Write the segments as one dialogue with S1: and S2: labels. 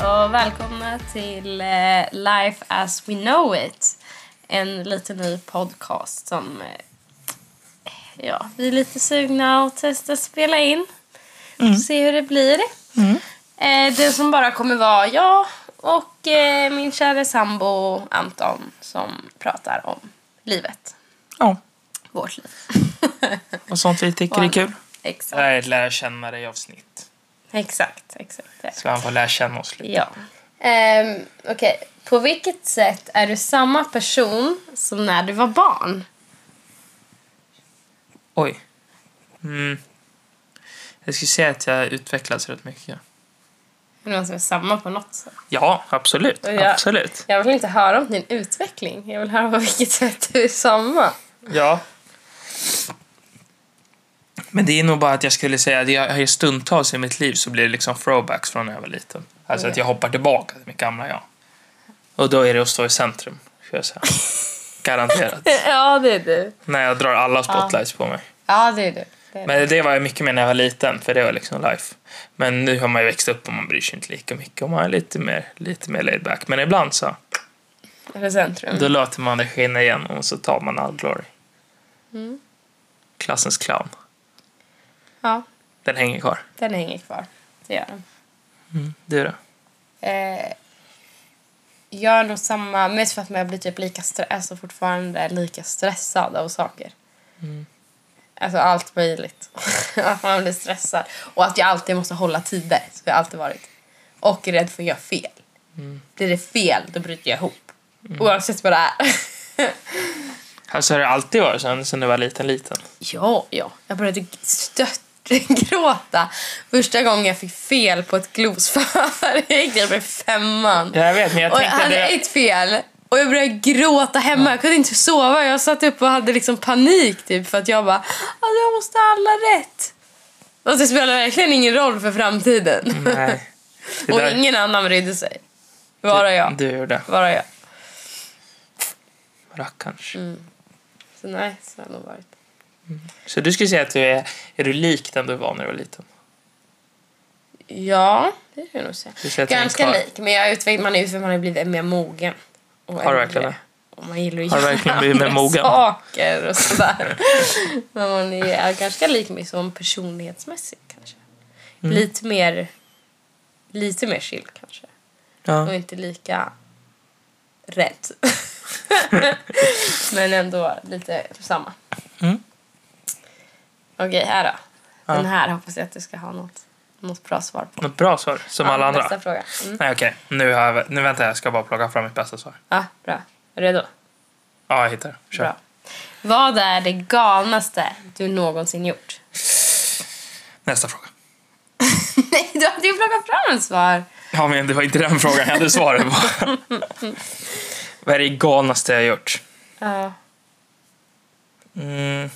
S1: och välkomna till eh, Life as we know it. En lite ny podcast som eh, ja, vi är lite sugna att testa att spela in.
S2: Mm.
S1: Se hur det blir. Eh, det som bara kommer vara jag och eh, min kära sambo Anton som pratar om livet.
S2: Ja,
S1: Vårt liv.
S2: och sånt vi tycker är kul.
S3: Det
S1: Exakt.
S3: här är ett lära känna dig-avsnitt.
S1: Exakt. exakt.
S3: Så han får lära känna oss lite.
S1: Ja. Ehm, Okej. På vilket sätt är du samma person som när du var barn?
S3: Oj. Mm. Jag skulle säga att jag utvecklas rätt mycket.
S1: Är det någon som är samma på något sätt?
S3: Ja, absolut.
S1: Ja.
S3: Absolut.
S1: Jag vill inte höra om din utveckling. Jag vill höra på vilket sätt du är samma.
S3: Ja. Men det är nog bara att jag skulle säga att jag i stundtals i mitt liv så blir det liksom throwbacks från när jag var liten. Alltså att jag hoppar tillbaka till mitt gamla jag. Och då är det att stå i centrum, skulle jag säga. Garanterat.
S1: Ja, det är du.
S3: när jag drar alla spotlights på mig.
S1: Ja, det är du. Det är du.
S3: Men det var jag mycket mer när jag var liten, för det var liksom life. Men nu har man ju växt upp och man bryr sig inte lika mycket och man är lite mer, lite mer laid back. Men ibland så,
S1: Är det centrum?
S3: då låter man det skina igen och så tar man all glory.
S1: Mm.
S3: Klassens clown.
S1: Ja,
S3: Den hänger kvar.
S1: den hänger kvar. Det gör den.
S3: Du då?
S1: Eh, jag är nog samma, mest för att jag blir typ lika stre- alltså fortfarande lika stressad av saker. Alltså allt möjligt. att man blir stressad. Och att jag alltid måste hålla tider, så har jag alltid varit. Och är rädd för att göra fel. Blir det fel, då bryter jag ihop. Oavsett vad det är.
S3: Alltså har det alltid varit så, ända sedan du var liten, liten?
S1: ja, ja. Jag började g- stört gråta första gången jag fick fel på ett glosförhör. Jag gick ner med femman
S3: Jag vet, men jag
S1: och jag
S3: tänkte
S1: hade
S3: det...
S1: ett fel. Och jag började gråta hemma. Jag kunde inte sova. Jag satt upp och hade liksom panik typ för att jag bara alltså, jag måste ha alla rätt. Och det spelar verkligen ingen roll för framtiden.
S3: Nej. Det
S1: och
S3: där-
S1: ingen annan brydde sig. Bara jag.
S3: Du gjorde.
S1: Bara jag.
S3: Rackarns.
S1: Mm. Så nej, så har det nog varit.
S3: Så du skulle säga att du är, är du lik den du var när du var liten?
S1: Ja, det kan jag nog
S3: Du
S1: säga.
S3: ser att jag är
S1: Ganska
S3: kvar.
S1: lik. Men jag utveck- man, är, utveck- man har blivit mer mogen. Och
S3: Har du
S1: äldre.
S3: verkligen det?
S1: Och man gillar ju
S3: Har du verkligen blivit mer
S1: andra
S3: mogen?
S1: saker och sådär. Men man är, är ganska lik mig som personlighetsmässigt kanske.
S3: Mm.
S1: Lite mer lite mer chill kanske. Och
S3: Ja.
S1: inte lika rädd. Men ändå lite samma.
S3: Mm.
S1: Okej, här då.
S3: Ja.
S1: Den här hoppas jag att du ska ha något, något bra svar på.
S3: Något bra svar, som alla
S1: Ja,
S3: andra.
S1: Nästa fråga. Mm.
S3: Nej okej, nu, har jag, nu väntar jag. Jag ska bara plocka fram mitt bästa svar.
S1: Ja, Ah, bra. Är du redo?
S3: Ja, jag hittar det. Kör.
S1: Bra. Vad är det galnaste du någonsin gjort?
S3: Nästa fråga.
S1: Nej, du hade ju plockat fram ett svar.
S3: Ja, men det var inte den frågan jag hade svaret på. Vad är det galnaste jag har gjort?
S1: Ja.
S3: Mm.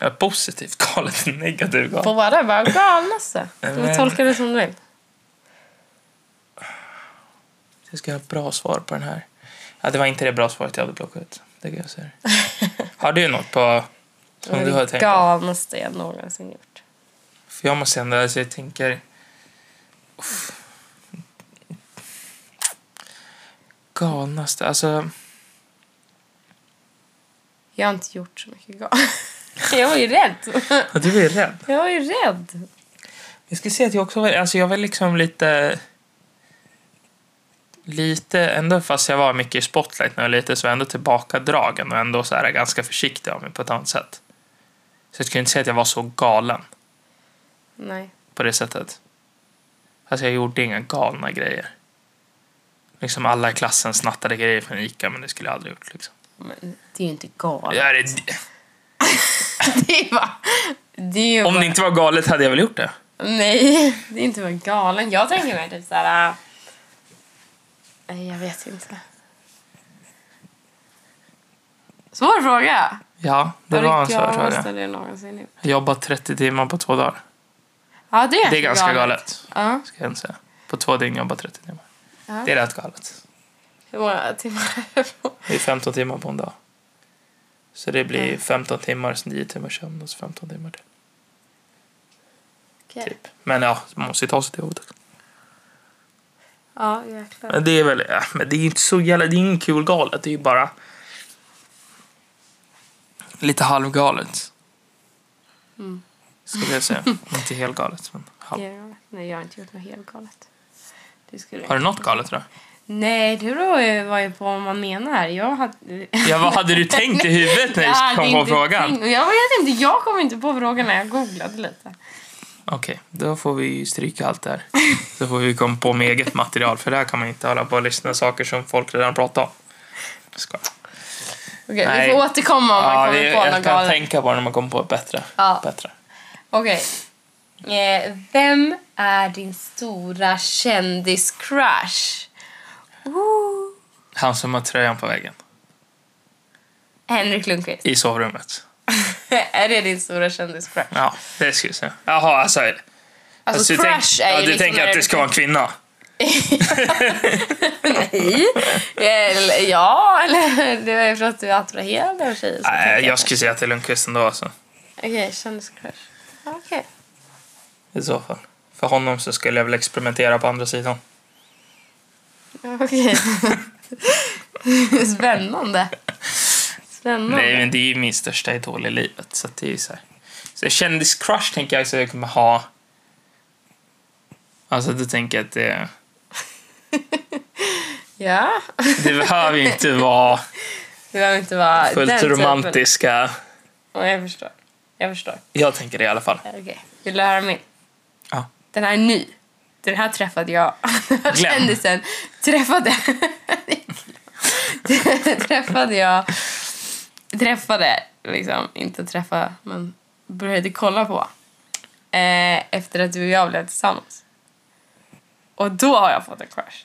S3: Jag är positivt galet, negativt galet.
S1: Båda bara galnaste. Du får
S3: Men-
S1: tolka det som du vill.
S3: Jag ska ha ett bra svar på den här. Ja, det var inte det bra svaret jag hade plockat ut. Det kan jag säga. Har du något på... Som
S1: Vad är
S3: du har
S1: det
S3: tänkt på?
S1: galnaste jag någonsin gjort.
S3: För jag måste ändå, alltså jag tänker... Uff. Galnaste, alltså...
S1: Jag har inte gjort så mycket gal. Jag var ju rädd.
S3: Ja, Du är rädd.
S1: Jag var ju rädd.
S3: Jag skulle säga att jag också var, alltså jag var liksom lite... Lite, ändå fast jag var mycket i spotlight när jag var liten så var jag ändå tillbakadragen och ändå så här ganska försiktig av mig på ett annat sätt. Så jag skulle inte säga att jag var så galen
S1: Nej.
S3: på det sättet. Alltså jag gjorde inga galna grejer. Liksom alla i klassen snattade grejer från Ica men det skulle jag aldrig gjort liksom.
S1: Men det är ju inte galet.
S3: Ja, det,
S1: Det är ju bara... Det är ju
S3: om det inte var galet hade jag väl gjort det.
S1: Nej, det är inte bara galen. Jag tänker mig typ såhär... Nej, jag vet inte. Svår fråga!
S3: Ja, det var en svår fråga.
S1: du någonsin gjort?
S3: Jag jobbade 30 timmar på två dagar.
S1: Ja, det är,
S3: Det är ganska galet.
S1: Ja.
S3: ska jag inte säga. På två dygn jobbar 30 timmar.
S1: Ja.
S3: Det är rätt galet.
S1: Hur många timmar är det på?
S3: Det är 15 timmar på en dag. Så det blir 15 timmar, så 9 timmars sömn och så 15 timmar typ. till.
S1: Okej.
S3: Typ. Men ja, man måste ju ta sig till jobbet också.
S1: Ja, jäklar.
S3: Men det är väl, ja, men det är inte så jävla, det är ingen kul galet. Det är ju bara lite halvgalet.
S1: Mm.
S3: Skulle jag säga. inte helt galet, men halv.
S1: Ja, nej, jag har inte gjort något helt galet. Det skulle
S3: Har du något galet då?
S1: Nej, du var ju, var ju på vad man menar. här. Jag hade...
S3: Ja, vad hade du tänkt i huvudet när
S1: Jag
S3: du
S1: hade
S3: kom på
S1: inte
S3: frågan?
S1: tänkt- Jag vet inte, jag kom inte på frågan när jag googlade lite.
S3: Okej, då får vi ju stryka allt det här. Så får vi komma på med eget material, för där kan man inte hålla på och lyssna saker som folk redan pratar om. Skojar.
S1: Okej, vi
S3: Nej.
S1: får återkomma om man
S3: Ja,
S1: kommer
S3: vi,
S1: på något
S3: jag kan
S1: galet.
S3: tänka på när man kommer på ett bättre.
S1: Ja.
S3: bättre.
S1: Okej. Eh, vem är din stora kändiscrush? Ooh.
S3: Han som har tröjan på väggen
S1: Henrik Lundqvist.
S3: i sovrummet.
S1: är det din stora kändiscrush?
S3: Ja, det skulle jag säga. Jaha, alltså... Alltså,
S1: Alltså,
S3: du
S1: crush
S3: tänk,
S1: är ju
S3: ja, Du
S1: liksom
S3: tänker
S1: när
S3: att det ska vara en kvinna?
S1: Nej. Eller, ja, eller det är för att du är attraherad av tjejer. så tänker
S3: Nej, jag
S1: det.
S3: skulle säga till Lundqvist ändå alltså.
S1: Okej, kändiscrush. Okej.
S3: I så fall. För honom så skulle jag väl experimentera på andra sidan.
S1: Okej. Spännande. Spännande.
S3: Nej, men det är ju min största idol i livet. Så att det är ju så här. Så kändiscrush tänker jag så jag kommer ha. Alltså, du tänker jag att det,
S1: Ja.
S3: det behöver ju inte vara
S1: Det behöver inte vara
S3: fullt
S1: typen.
S3: romantiska.
S1: Ja, jag förstår. Jag förstår.
S3: Jag tänker det i alla fall.
S1: Okej. Vill du höra min?
S3: Ja.
S1: Den här är ny. Den här träffade jag. Den här
S3: Glenn.
S1: kändisen träffade... träffade jag... Träffade, liksom. Inte träffa, men började kolla på. Eh, efter att du och jag blev tillsammans. Och då har jag fått en crush.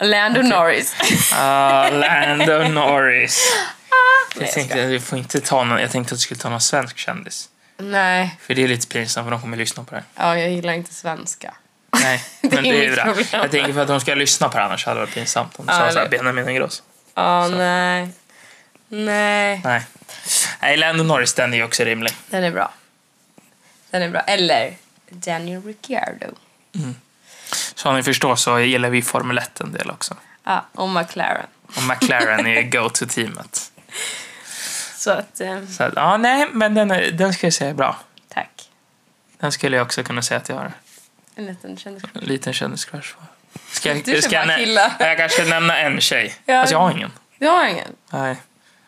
S1: Lando Norris.
S3: Ah, Lando Norris.
S1: Nej,
S3: Jag
S1: jag
S3: tänkte,
S1: skojar.
S3: du får inte ta någon, jag tänkte att du skulle ta någon svensk kändis.
S1: Nej,
S3: För det är lite pinsamt för de kommer lyssna på det här.
S1: ja, jag gillar inte svenska.
S3: Nej, men
S1: Det är
S3: det är ju
S1: mitt
S3: bra.
S1: problem.
S3: Jag tänker för att de ska lyssna på det annars hade det varit pinsamt om du
S1: Ja,
S3: sa såhär
S1: eller-
S3: Benjamin Ingrosso.
S1: Ja,
S3: Så.
S1: nej. Nej,
S3: Nej. Nej, Lando Norris den är ju också rimlig.
S1: den är bra. Den är bra. Eller Daniel Ricciardo.
S3: Som ni förstår så gillar vi Formel 1 en del också.
S1: Ja, och McLaren.
S3: Och McLaren är ju go-to-teamet.
S1: Så att, eh,
S3: Så att, ja, nej, men den, är, den ska jag säga är bra.
S1: tack.
S3: Den skulle jag också kunna säga att jag har
S1: En liten kändis.
S3: en liten kändiscrush på. Ska jag,
S1: Du kör
S3: ska jag,
S1: bara
S3: nä-
S1: killar.
S3: jag kanske nämna en tjej.
S1: Ja.
S3: Alltså jag har ingen.
S1: Du har ingen?
S3: Nej,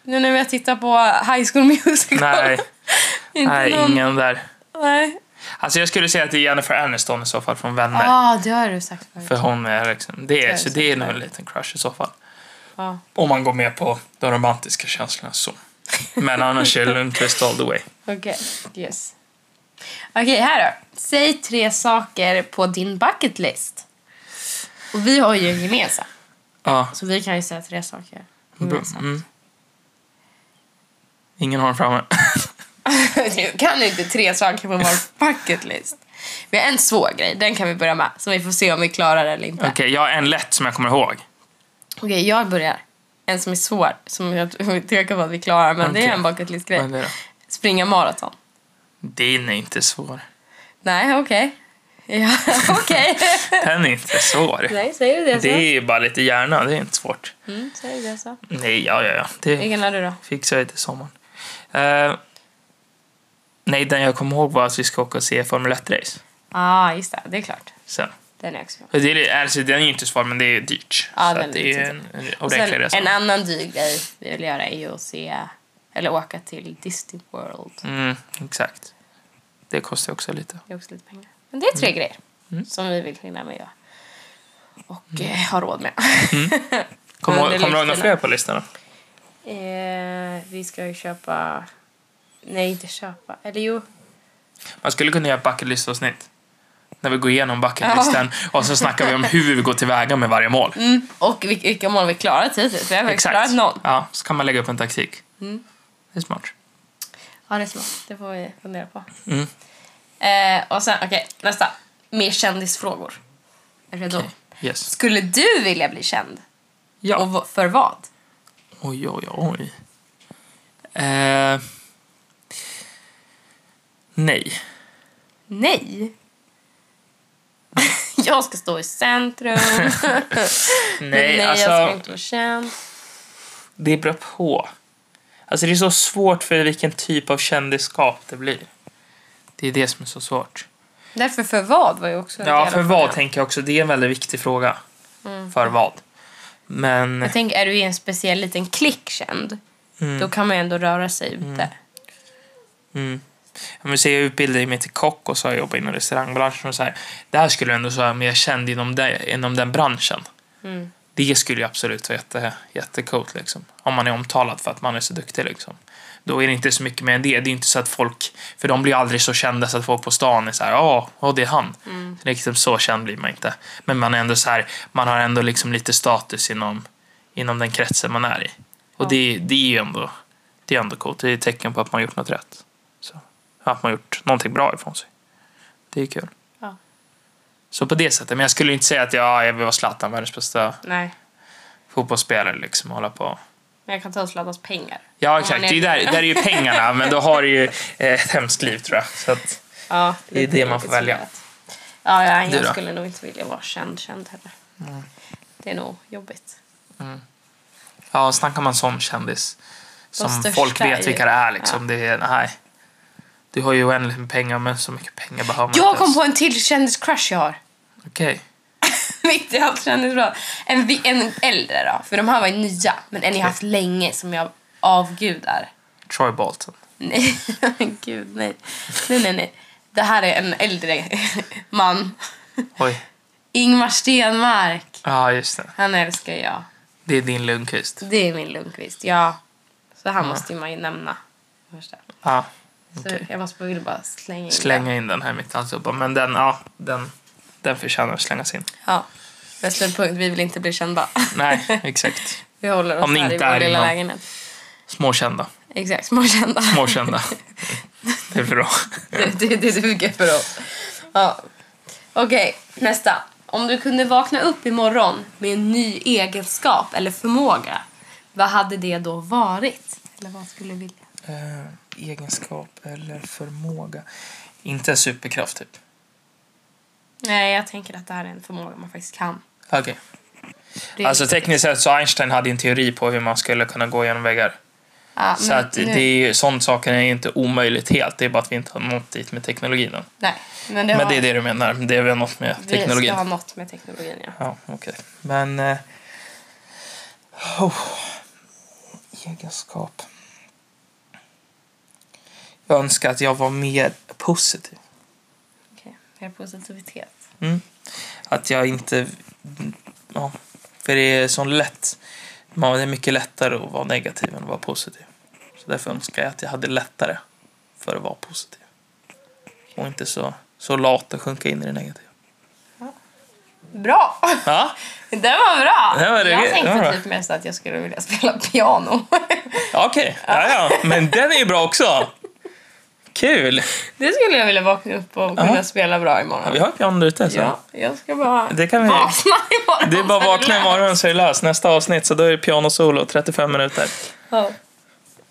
S1: Nu när vi har tittat på High School Musical.
S3: nej,
S1: inte
S3: nej
S1: någon,
S3: ingen där.
S1: Nej.
S3: Alltså jag skulle säga att det är Jennifer Aniston i så fall från Vänner.
S1: Ja, ah, det har du sagt förut.
S3: För hon är liksom, det är, så det är nog en liten crush i så fall.
S1: Ja.
S3: Om man går med på de romantiska känslorna så. Men annars är det Lundqvist all the way.
S1: Okej, yes. Okej, här då. Säg tre saker på din bucket list. Och vi har ju en gemensam,
S3: Ja.
S1: så vi kan ju säga tre saker gemensamt.
S3: Mm. Ingen har den framme.
S1: Du kan ju inte tre saker på vår bucket list. Vi har en svår grej, den kan vi börja med. Så vi får se om vi klarar det eller inte.
S3: Okej, jag har en lätt som jag kommer ihåg.
S1: Okej, jag börjar. En som är svår, som jag tycker på att vi klarar, men det är
S3: Okej.
S1: en bucket list-grej.
S3: Men det då?
S1: Springa maraton.
S3: Din är inte svår.
S1: Nej, okej. Ja, okej.
S3: Den är inte svår.
S1: Nej, säger du det så?
S3: Det är ju bara lite hjärna, det är inte svårt.
S1: Mm, säger du det så?
S3: Nej, ja, ja, ja. Det
S1: Vilken har du då?
S3: fixar jag till sommaren. Eh, nej, den jag kommer ihåg var att vi ska åka och se Formel 1-race
S1: Ja, ah, just det. Det är klart.
S3: sen.
S1: Den är också bra.
S3: Och Det är, li- alltså, den är ju inte svår, men det är dyrt.
S1: Ja,
S3: så
S1: den
S3: att
S1: är
S3: det är
S1: lite
S3: en, en
S1: Och
S3: ordentlig
S1: sen,
S3: resa.
S1: en annan dyr grej vi vill göra är ju att se, eller åka till Disney World.
S3: Mm, exakt. Det kostar också lite.
S1: Det är också lite pengar. Men det är
S3: Mm.
S1: tre grejer som vi vill hinna med att göra. Och
S3: Mm.
S1: eh, ha råd med.
S3: Kommer
S1: Men det
S3: kommer
S1: är
S3: du ihåg några
S1: lyxerna.
S3: fler på listan? då?
S1: eh, vi ska ju köpa... Nej, inte köpa. Eller jo.
S3: Man skulle kunna göra ett bucket list avsnitt. När vi går igenom bucket listen och så snackar vi om hur vi går tillväga med varje mål.
S1: Mm. Och vil- vilka mål vi klarat hittills. Vi har faktiskt klarat någon.
S3: Ja, så kan man lägga upp en taktik.
S1: Mm.
S3: Det är smart.
S1: Ja, det är smart. Det får vi fundera på.
S3: Mm.
S1: Eh, och sen, okej. nästa. Mer kändisfrågor. Är du redo?
S3: Yes.
S1: Skulle du vilja bli känd?
S3: Ja.
S1: Och v- för vad?
S3: Oj, oj, oj. Eh, nej.
S1: Nej. Jag ska stå i centrum.
S3: Nej,
S1: Nej,
S3: alltså.
S1: jag ska inte vara känd.
S3: Det beror på. Alltså det är så svårt för vilken typ av kändisskap det blir. Det är det som är så svårt.
S1: Därför för vad var ju också en Mm. del
S3: Ja,
S1: av
S3: för vad
S1: frågan.
S3: tänker jag också. Det är en väldigt viktig fråga. För vad. Men
S1: Jag tänker, är du i en speciell liten klick känd, då kan man ju ändå röra sig ute.
S3: om vi säger Mm. jag utbildade mig till kock och så har jag jobbat inom restaurangbranschen och så här. Det här skulle jag ändå säga, men jag kände inom, det, inom den branschen. Det skulle ju absolut vara jätte, jättecoolt liksom. Om man är omtalad för att man är så duktig liksom. Då är det inte så mycket mer än det. Det är inte så att folk, för de blir aldrig så kända så att folk på stan är så här, ja, åh, det är han. Mm. Liksom så känd blir man inte. Men man är ändå så här, man har ändå liksom lite status inom, inom den kretsen man är i. Och det, det är ju ändå, det är ändå coolt. Det är ett tecken på att man har gjort något rätt. Så, att man har gjort någonting bra ifrån sig. Det är kul.
S1: Ja.
S3: Så på det sättet. Men jag skulle inte säga att jag, jag vill vara Zlatan, världens bästa
S1: Nej,
S3: fotbollsspelare liksom hålla på.
S1: men jag kan ta Zlatans pengar.
S3: Ja
S1: Om man
S3: exakt, det är
S1: är-
S3: ju där, där är ju pengarna men då har du ju eh, ett hemskt liv tror jag. Så att,
S1: Ja,
S3: Det är
S1: lite
S3: det man får
S1: tråkigt
S3: välja.
S1: såklart. Ja, ja
S3: Du då?
S1: jag skulle nog inte vilja vara känd, känd heller. Mm. Det är nog jobbigt.
S3: ja, snackar man sån kändis som
S1: största
S3: folk
S1: är
S3: vet
S1: ju-
S3: vilka det är liksom. Det är, nej. Du har ju oändligt med pengar men så mycket pengar behöver man
S1: Jag
S3: inte
S1: kom
S3: ens.
S1: på en till kändiscrush jag har.
S3: Okej.
S1: Mitt i allt kändisbra. En, vi- en äldre då, för de här var ju nya. Men en jag haft länge som jag avgudar.
S3: Troy Bolton.
S1: Nej, gud nej. Nej, nej, nej. Det här är en äldre man.
S3: Oj.
S1: Ingmar Stenmark.
S3: Ja just det.
S1: Han älskar jag.
S3: Det är din Lundqvist. Ja.
S1: Det är min Lundqvist, ja. Så han måste man ju nämna. Första. Så
S3: okej.
S1: Jag måste bara, vill bara slänga in det.
S3: Slänga in den här mitt i alltihopa. Men den, ja, den, den förtjänar att slängas in.
S1: Ja. Bästa punkt, vi vill inte bli kända.
S3: Nej, exakt.
S1: Vi håller oss
S3: Om ni
S1: här i
S3: inte
S1: vår
S3: är
S1: lilla
S3: inom-
S1: lägenhet.
S3: Småkända.
S1: Exakt, småkända.
S3: Småkända. Det är bra.
S1: Det, det, det duger för oss. Ja. Okej, nästa. Om du kunde vakna upp imorgon med en ny egenskap eller förmåga, vad hade det då varit? Eller vad skulle du vilja?
S3: Eh, egenskap eller förmåga. Inte en superkraft typ.
S1: Nej, jag tänker att det här är en förmåga man faktiskt kan.
S3: Okej.
S1: Det-
S3: Alltså tekniskt sett så Einstein hade ju en teori på hur man skulle kunna gå genom väggar.
S1: ja,
S3: Så
S1: men
S3: att
S1: nu-
S3: det är ju, sånt saker är ju inte omöjligt helt. Det är bara att vi inte har nått dit med teknologin än.
S1: Nej, men det,
S3: Men
S1: har,
S3: det är det du menar. Det vi har nått med
S1: Vi
S3: teknologin.
S1: ska ha något med teknologin, ja.
S3: Ja, okej. Men... Eh, oh, egenskap. Jag önskar att jag var mer positiv.
S1: Okej, mer positivitet.
S3: Att jag inte... Ja, för det är så lätt. Man, det är mycket lättare att vara negativ än att vara positiv. Så därför önskar jag att jag hade lättare för att vara positiv. Och inte så, så lat och sjunka in i det negativa.
S1: Bra!
S3: Ja,
S1: Det var bra!
S3: Det var det-
S1: jag
S3: det var
S1: tänkte
S3: bra.
S1: typ mest att jag skulle vilja spela piano.
S3: okej. Ja, ja. Men den är ju bra också. Kul!
S1: det skulle jag vilja vakna upp och kunna
S3: Jaha.
S1: spela bra
S3: Ja,
S1: imorgon.
S3: vi har ett piano ute. Så.
S1: Ja, jag ska bara
S3: Det kan vi-
S1: vakna imorgon.
S3: Det är bara
S1: så
S3: vakna
S1: lätt.
S3: imorgon så är det löst. Nästa avsnitt så då är det pianosolo 35 minuter.
S1: Ja.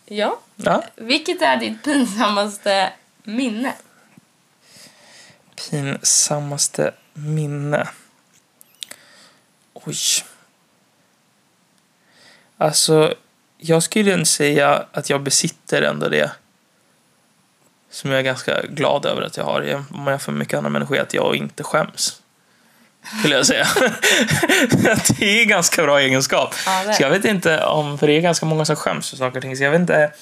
S1: ja.
S3: Ja.
S1: Vilket är ditt pinsammaste minne?
S3: Pinsammaste minne. Oj. Alltså, jag skulle ändå säga att jag besitter ändå det som jag är ganska glad över att jag har. Jag- Om jag får mycket andra människor är att jag inte skäms. Skulle jag säga. Att det är en ganska bra egenskap.
S1: Ja, det är
S3: så jag vet inte om, för det är ganska många som skäms för saker och ting. Så jag vet inte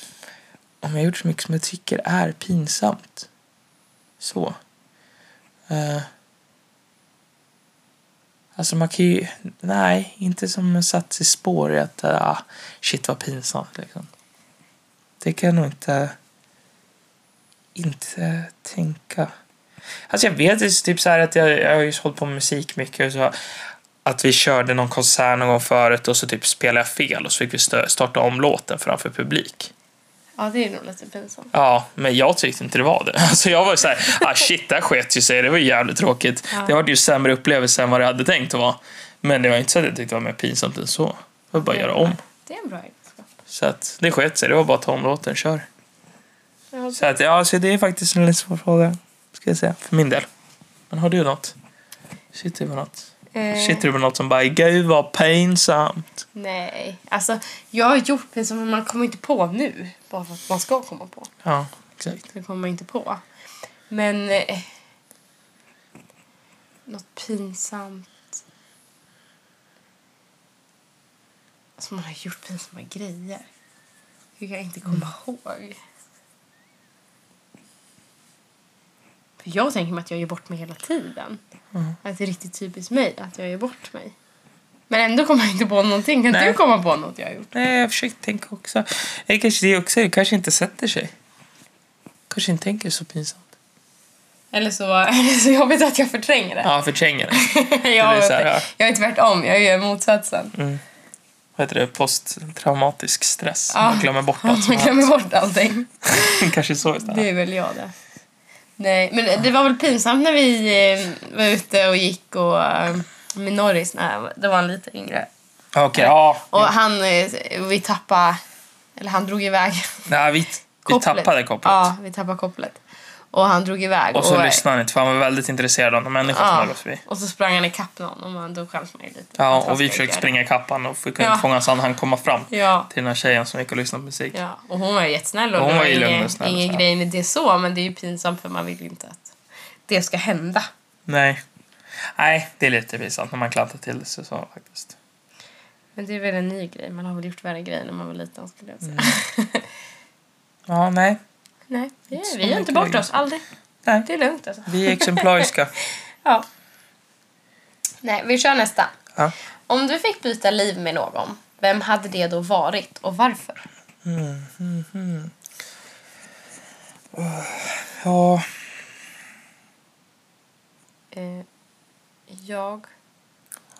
S3: om jag har gjort så mycket som jag tycker är pinsamt. Så. Eh. Alltså man kan ju, nej, inte som satt i spår i att ah, shit vad pinsamt liksom. Det kan jag nog inte, inte tänka. Alltså jag vet det är typ så här att jag, jag har ju hållit på med musik mycket och så. Att vi körde någon konsert någon gång förut och så typ spelade jag fel och så fick vi stö- starta om låten framför publik.
S1: Ja, det är nog lite pinsamt.
S3: Ja, men jag tyckte inte det var det. Alltså jag var ju såhär, ah shit, det här sket ju sig. Det var ju jävligt tråkigt.
S1: Ja.
S3: Det var ju sämre upplevelse än vad jag hade tänkt att vara. Men det var inte så att jag tyckte det var mer pinsamt än så. Det var bara att göra om.
S1: Det är en bra egenskap.
S3: Så att det sket sig. Det var bara att ta om låten, kör.
S1: Ja,
S3: Så att ja, så det är faktiskt en lite svår fråga. Ska jag säga, för min del. Men har du något? Sitter du på något?
S1: Eh,
S3: Sitter du på något som bara gud vad pinsamt?
S1: Nej, alltså jag har gjort det som man kommer inte på nu. Bara för att man ska komma på.
S3: Ja, exakt.
S1: Det kommer man inte på. Men... Eh, något pinsamt. Alltså man har gjort pinsamma grejer. Det kan jag inte
S3: Mm.
S1: komma ihåg. För jag tänker mig att jag gör bort mig hela tiden.
S3: Mm.
S1: Att det är riktigt typiskt mig att jag gör bort mig. Men ändå kommer jag inte på någonting. Kan
S3: Nej.
S1: du komma på något jag har gjort?
S3: Nej, jag försökte tänka också. Det kanske det också är. Det kanske inte sätter sig. Kanske inte tänker så pinsamt.
S1: Eller så är det så jobbigt att jag förtränger det.
S3: Ja, förtränger det.
S1: jag,
S3: blir så här, ja.
S1: jag är tvärtom, jag är motsatsen.
S3: Vad heter det? Posttraumatisk stress.
S1: Ja.
S3: Man glömmer bort allt som
S1: Man
S3: har hänt.
S1: glömmer bort allting.
S3: Kanske så istället.
S1: Det är väl jag det. Nej, men det var väl pinsamt när vi eh, var ute och gick och eh, med Norris, när då var han lite yngre.
S3: Okej, ja.
S1: Och han, eh, vi tappade, eller han drog iväg
S3: Nej, vi, vi
S1: kopplet.
S3: tappade kopplet.
S1: Ja, vi tappade kopplet. Och han drog iväg.
S3: Och så lyssnade han inte för han var väldigt intresserad av de människor som
S1: ja,
S3: höll oss vid.
S1: och så sprang han ikapp någon och man, då skäms man ju lite.
S3: Ja,
S1: Att han
S3: och vi
S1: ska
S3: försökte
S1: göra det.
S3: springa kappan och fick inte
S1: Ja.
S3: fånga så han hann komma fram
S1: Ja,
S3: till den här tjejen som gick och lyssnade på musik.
S1: Ja, och hon var ju jättesnäll och
S3: Hon
S1: det
S3: var ju lugn och
S1: ingen,
S3: snäll och
S1: ingen
S3: så här.
S1: grej med det så men det är ju pinsamt för man vill ju inte att det ska hända.
S3: Nej. Nej, det är lite pinsamt när man klantar till det sig så faktiskt.
S1: Men det är väl en ny grej, man har väl gjort värre grejer när man var liten skulle jag säga.
S3: Mm. Ja, nej.
S1: Nej, vi
S3: Inte så
S1: är, vi är inte
S3: mycket
S1: bort
S3: längre.
S1: oss, aldrig.
S3: Nej.
S1: Det är lugnt alltså.
S3: Vi är exemplariska.
S1: Ja. Nej, vi kör nästa.
S3: Ja.
S1: Om du fick byta liv med någon, vem hade det då varit och varför?
S3: Ja,
S1: Eh, jag...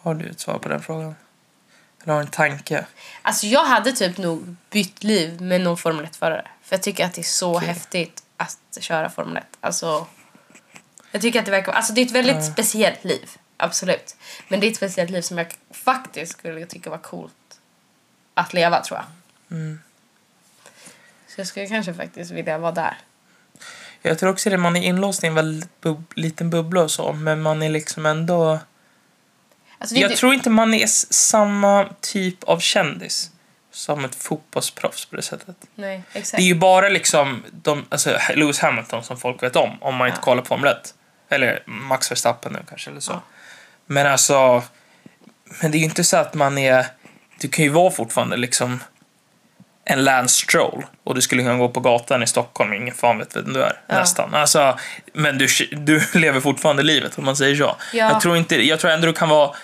S3: har du ett svar på den frågan? Eller har du en tanke?
S1: Alltså jag hade typ nog bytt liv med någon Formel 1-förare. För jag tycker att det är så häftigt att köra Formel 1. Alltså, jag tycker att det verkar... Alltså det är ett väldigt speciellt liv. Absolut. Men det är ett speciellt liv som jag faktiskt skulle tycka var coolt att leva tror jag.
S3: Mm.
S1: Så jag skulle kanske faktiskt vilja vara där.
S3: Jag tror också det, man är inlåst i en väldigt bub- liten bubbla och så, men man är liksom ändå...
S1: Alltså, det, är
S3: Jag
S1: inte-
S3: tror inte man är s- samma typ av kändis som ett fotbollsproffs på det sättet.
S1: Nej, exakt.
S3: Det är ju bara liksom de, alltså Lewis Hamilton som folk vet om, om man inte
S1: Ja.
S3: kollar på Formel 1. Eller Max Verstappen nu kanske, eller så.
S1: Ja.
S3: Men alltså, men det är ju inte så att man är... Du kan ju vara fortfarande liksom en Lance Stroll och du skulle kunna gå på gatan i Stockholm och ingen fan vet vem du är.
S1: Ja.
S3: Nästan. Alltså, men du, du lever fortfarande livet om man säger så.
S1: Ja.
S3: Jag, tror inte, jag tror ändå du kan vara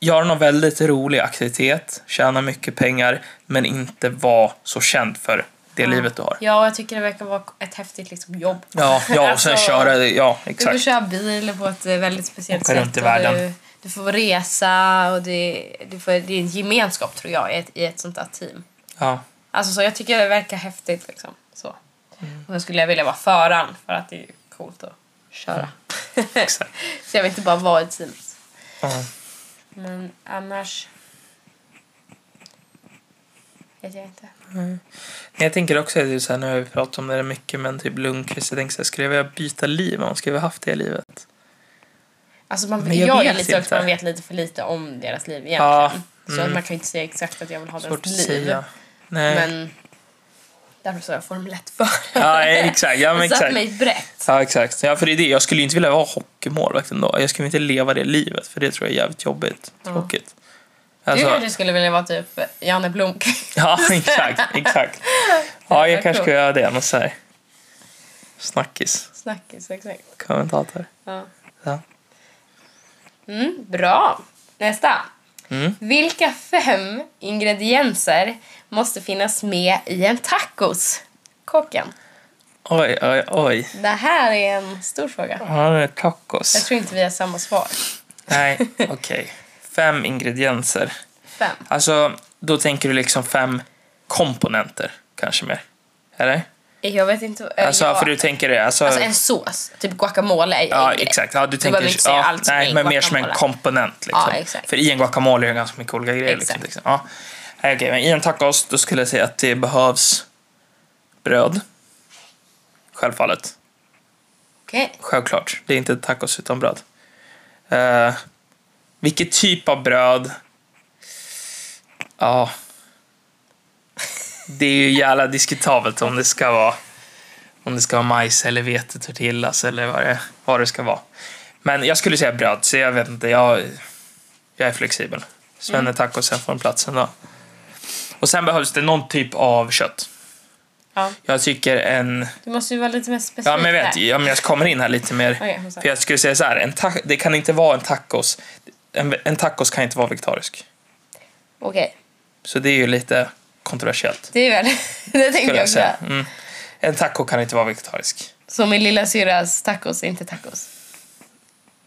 S3: göra någon väldigt rolig aktivitet, tjäna mycket pengar, men inte vara så känd för det livet du har.
S1: Ja, och jag tycker det verkar vara ett häftigt liksom, jobb.
S3: Ja, ja och sen
S1: Alltså-
S3: köra, ja
S1: Du får
S3: exakt.
S1: köra bil på ett eh, väldigt speciellt
S3: Åka
S1: sätt.
S3: runt i
S1: och
S3: världen.
S1: Du, du får resa och det, du får, det är en gemenskap tror jag i ett, i ett sånt där team.
S3: Ja.
S1: Alltså så jag tycker det verkar häftigt liksom. Så.
S3: Mm.
S1: Och då skulle jag vilja vara föraren för att det är coolt att köra.
S3: Mm. Exakt.
S1: så jag vill inte bara vara i teamet.
S3: Ja.
S1: Men annars... Vet jag inte.
S3: Men Jag tänker också, att det är så här, nu har vi pratat om det där mycket, men typ Lundqvist, jag tänker så här, skulle jag vilja byta liv om jag skulle ha haft det livet?
S1: Alltså man,
S3: Men
S1: jag
S3: jag
S1: är
S3: vet
S1: lite
S3: inte.
S1: att man vet lite för lite om deras liv egentligen.
S3: Ja,
S1: Så att
S3: mm.
S1: man kan inte säga exakt att jag vill ha
S3: Svårt att
S1: deras liv.
S3: säga. Nej.
S1: Men därför sa jag Formel 1 för.
S3: Ja, exakt. Ja, men
S1: Jag satte
S3: exakt.
S1: mig brett.
S3: Ja, exakt. Ja, för det är det. Jag skulle ju inte vilja vara hockeymålvakt ändå. Jag skulle inte leva det livet, för det tror jag är jävligt jobbigt.
S1: Ja.
S3: Tråkigt.
S1: du
S3: Alltså,
S1: kanske skulle vilja vara typ Janne Blomk.
S3: ja, exakt. exakt. Ja, jag kanske ska göra det. Någon så här snackis,
S1: Snackis, exakt.
S3: kommentator.
S1: Ja.
S3: Ja.
S1: Mm, bra. Nästa.
S3: Mm.
S1: Vilka fem ingredienser måste finnas med i en tacos? Kocken.
S3: Oj, oj, oj.
S1: Det här är en stor fråga.
S3: Ja, det är
S1: Jag
S3: tacos.
S1: tror inte vi har samma svar.
S3: Nej, okej. Fem ingredienser.
S1: Fem.
S3: Alltså, då tänker du liksom fem komponenter, kanske mer. Eller?
S1: Jag vet inte. eh,
S3: Alltså,
S1: jag,
S3: för du tänker det. Alltså,
S1: alltså en sås. Typ guacamole är
S3: Ja,
S1: ingrediens.
S3: exakt. Ja, du tänker, liksom-
S1: behöver inte säga
S3: ja,
S1: allt som är
S3: nej,
S1: i
S3: men mer som en
S1: guacamole.
S3: komponent. Liksom.
S1: Ja, exakt.
S3: För i en guacamole är det ganska mycket olika grejer. Liksom,
S1: Exakt.
S3: liksom. Ja. Nej, okej, men I en tacos då skulle jag säga att det behövs bröd. Självfallet.
S1: Okej.
S3: Självklart. Det är inte tacos utan bröd. Uh, vilket typ av bröd? Ja. Det är ju jävla diskutabelt om det ska vara om det ska vara majs eller vete tortillas eller vad det, vad det ska vara. Men jag skulle säga bröd, så jag vet inte. Jag, jag är flexibel. Svenne tacosen får en plats ändå. Och sen behövs det någon typ av kött.
S1: Ja.
S3: Jag tycker en...
S1: Du måste ju vara lite mer specifik
S3: Ja, men jag vet.
S1: här.
S3: Ja, men jag kommer in här lite mer.
S1: Okej, vad sa
S3: För jag skulle säga så här, en ta- det kan inte vara en tacos. En, en tacos kan inte vara vegetarisk.
S1: du? Okej,
S3: Så det är ju lite kontroversiellt.
S1: det är väl... det tänkte
S3: Skulle
S1: jag
S3: jag
S1: också.
S3: säga. Mm. En taco kan inte vara vegetarisk.
S1: Så min lilla syrras tacos är inte tacos?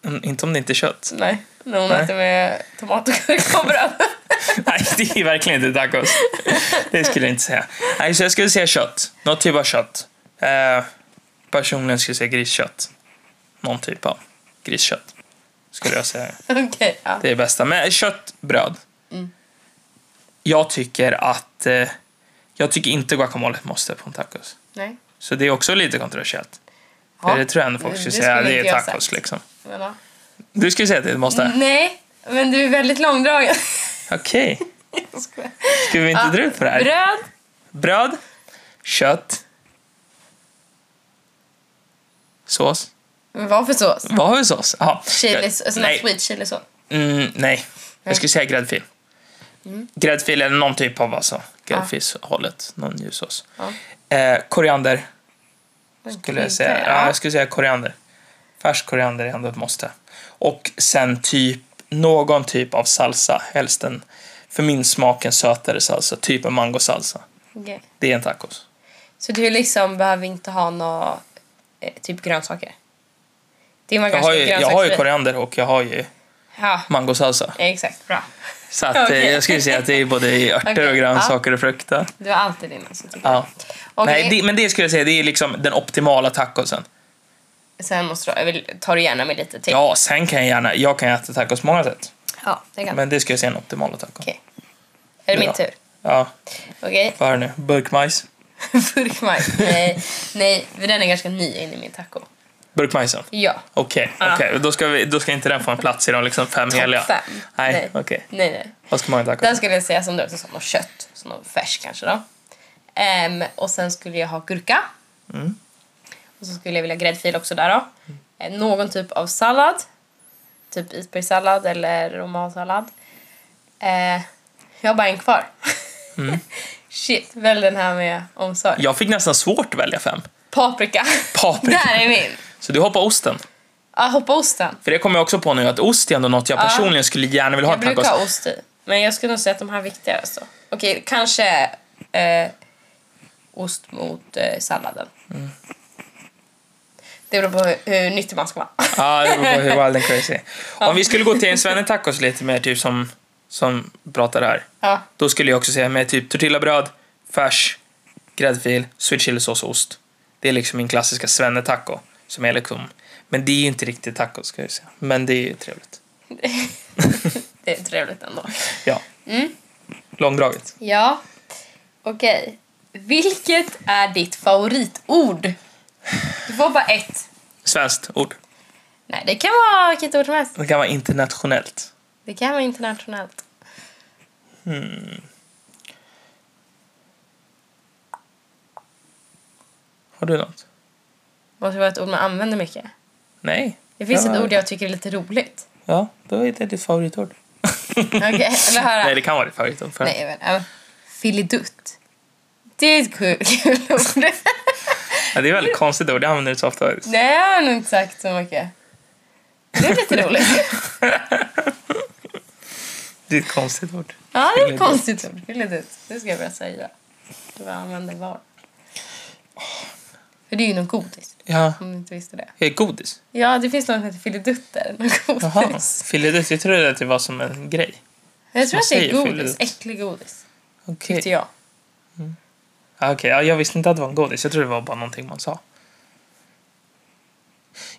S3: Mm, inte om det inte är kött.
S1: Nej, när hon
S3: Nej.
S1: äter med tomat och gurka och bröd.
S3: Nej, det är verkligen inte tacos. Det skulle jag inte säga. Nej, så jag skulle säga kött. Någon typ av kött. Eh, personligen skulle jag säga griskött. Någon typ av griskött. Skulle jag säga.
S1: Okej, ja.
S3: Det är det bästa. Men kött, bröd.
S1: Mm.
S3: Jag tycker att... Eh, jag tycker inte guacamole måste på en tacos.
S1: Nej.
S3: Så det är också lite kontroversiellt.
S1: Ja,
S3: För det tror jag ändå folk
S1: det-
S3: skulle
S1: det
S3: säga.
S1: skulle
S3: Det
S1: inte
S3: är
S1: jag
S3: tacos
S1: sagt. Mm.
S3: liksom.
S1: Men, ja.
S3: Du skulle säga att det måste?
S1: Nej, men du är väldigt långdragen.
S3: Okej. Ska vi inte dra ut på det här?
S1: Bröd,
S3: Bröd, kött, sås.
S1: Men vad för sås?
S3: Vad har vi sås? Jaha.
S1: Chili, sån här
S3: nej.
S1: sweet chili sås.
S3: Mm, nej, jag skulle säga gräddfil.
S1: Mm.
S3: Gräddfil eller någon typ av alltså, gräddfilshållet, någon ljussås.
S1: Ja.
S3: Eh, koriander skulle jag säga.
S1: Okej,
S3: Ja, jag skulle säga koriander. Färsk koriander är ändå ett måste. Och sen typ någon typ av salsa, helst en för min smak en sötare salsa, typ en mangosalsa.
S1: Okej.
S3: Det är en tacos.
S1: Så du liksom behöver inte ha några eh, typ grönsaker? Det är man
S3: Jag
S1: kanske
S3: har, ju, jag har ju koriander och jag har ju
S1: Ja,
S3: mangosalsa.
S1: exakt. Bra.
S3: Så att, eh,
S1: Okej.
S3: jag skulle säga att det är både i örter
S1: Okej,
S3: och
S1: ja.
S3: grönsaker och frukter.
S1: Du har alltid dina som tycker
S3: Ja.
S1: Okej.
S3: Nej, det, men det skulle jag säga, det är liksom den optimala tacosen.
S1: Sen måste du, jag vill, tar du gärna med lite till.
S3: Ja, sen kan jag gärna, jag kan äta tacos på många sätt.
S1: ja det kan.
S3: Men det skulle jag säga är den optimala tacon.
S1: Okej. är det min
S3: ja.
S1: tur?
S3: Ja,
S1: Okej.
S3: vad är det nu? Burkmajs?
S1: Burkmajs. Nej, nej, för den är ganska ny in i min taco.
S3: Burkmajsen?
S1: Ja.
S3: Okej,
S1: Ja.
S3: okej. Då, ska vi- då ska inte den få en plats i de liksom fem heliga.
S1: Topp fem.
S3: Nej,
S1: Nej.
S3: okej.
S1: Nej, nej.
S3: Vad ska man ha i
S1: Den
S3: tacos?
S1: skulle jag säga som du också sa, något kött. Så någon färs kanske då. Ehm, och sen skulle jag ha gurka. Och så skulle jag vilja ha gräddfil också där då. Eh, någon typ av sallad. Typ isbergssallad eller romansallad. Eh, jag har bara en kvar. Shit, välj den här med omsorg.
S3: Jag fick nästan svårt att välja fem.
S1: Paprika.
S3: Paprika.
S1: Där är min.
S3: Så du hoppar osten.
S1: Ja, hoppa osten.
S3: För det kommer jag också på nu, att ost är ändå något jag personligen skulle gärna vilja ha
S1: Jag
S3: i tacos.
S1: brukar ha ost i. Men jag skulle nog säga att de här är viktigare. Alltså. Okej, kanske eh, ost mot eh, salladen.
S3: Mm.
S1: Det beror på hur, hur nyttig man ska vara.
S3: Ja, det beror på hur wild and crazy. Om vi skulle gå till en svennetacos lite mer, typ som, som pratar här.
S1: ja,
S3: Då skulle jag också säga med typ tortillabröd, färs, gräddfil, sweet chilisås och ost. Det är liksom min klassiska svennetaco. Som är liksom, men det är ju inte riktigt tacos ska jag säga. Men det är ju trevligt.
S1: det är trevligt ändå.
S3: Ja. Långdraget.
S1: Ja, okej. Vilket är ditt favoritord? Du får bara ett.
S3: Svenskt ord.
S1: Nej, det kan vara vilket ord som helst.
S3: Det kan vara internationellt.
S1: Det kan vara internationellt.
S3: Har du något?
S1: Det måste vara ett ord man använder mycket.
S3: Nej.
S1: Det finns
S3: Ja.
S1: ett ord jag tycker är lite roligt.
S3: Ja, då är det ditt favoritord.
S1: Okej, vill du höra?
S3: Nej, det kan vara ditt favoritord. För
S1: Nej, men ja, filidutt. Det är ett kul, kul ord.
S3: Ja, det är väldigt konstigt ord, det använder du så ofta.
S1: Nej, jag har nog inte sagt så mycket. Det är lite roligt.
S3: Det är ett konstigt ord.
S1: Ja, det är ett
S3: Filidutt.
S1: konstigt ord. Filidutt. Det ska jag börja säga. Du använder var. För det är ju någon godis,
S3: Ja,
S1: om du inte visste det.
S3: är det godis?
S1: Ja, det finns något som heter filidutter. Någon
S3: Jaha,
S1: godis.
S3: filledutt. Jag trodde att det var som en grej.
S1: Jag tror
S3: Man
S1: att det är
S3: säger
S1: godis.
S3: filidutt.
S1: Äcklig godis,
S3: Okej.
S1: tyckte jag.
S3: Ah, okej. Ja, jag visste inte att det var en godis. Jag trodde det var bara någonting man sa.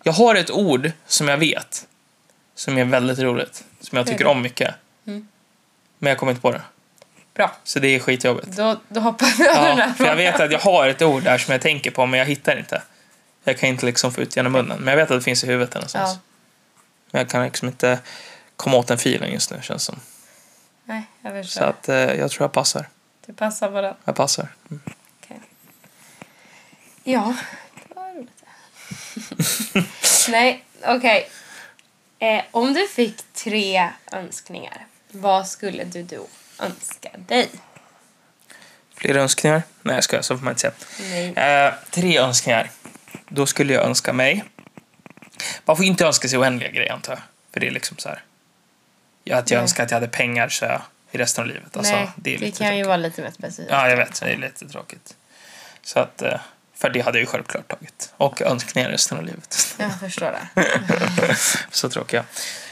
S3: Jag har ett ord som jag vet som är väldigt roligt, som jag tycker om mycket. Men jag kommer inte på det,
S1: Mm. Bra.
S3: så det är skitjobbigt.
S1: Då, då hoppar vi över den
S3: Ja,
S1: här
S3: för jag
S1: frågan.
S3: vet att jag har ett ord där som jag tänker på, men jag hittar inte. Jag kan inte liksom få ut genom munnen, men jag vet att det finns i huvudet någonstans.
S1: Ja.
S3: Men jag kan liksom inte komma åt den filen just nu känns som.
S1: Nej, jag
S3: Så
S1: förstår.
S3: att eh, jag tror jag passar.
S1: Du passar på den.
S3: Jag passar. Mm.
S1: Okej. Ja, det var roligt. Nej, okej. Eh, om du fick tre önskningar, vad skulle du då önska dig?
S3: Fler önskningar? Nej jag skojar, så får man inte säga.
S1: Nej.
S3: Eh, tre önskningar. Då skulle jag önska mig... Man får inte önska sig oändliga grejer antar jag. För det är liksom så här... Ja, att jag
S1: Nej.
S3: önskar att jag hade pengar så jag, i resten av livet. Alltså,
S1: Nej,
S3: det är lite
S1: kan ju
S3: tråkigt.
S1: vara lite mer specifikt.
S3: Ja, jag vet. Det är lite tråkigt. Så att... eh, För det hade jag ju självklart tagit. Och önskningar resten av livet.
S1: Jag förstår det.
S3: Så tråkiga.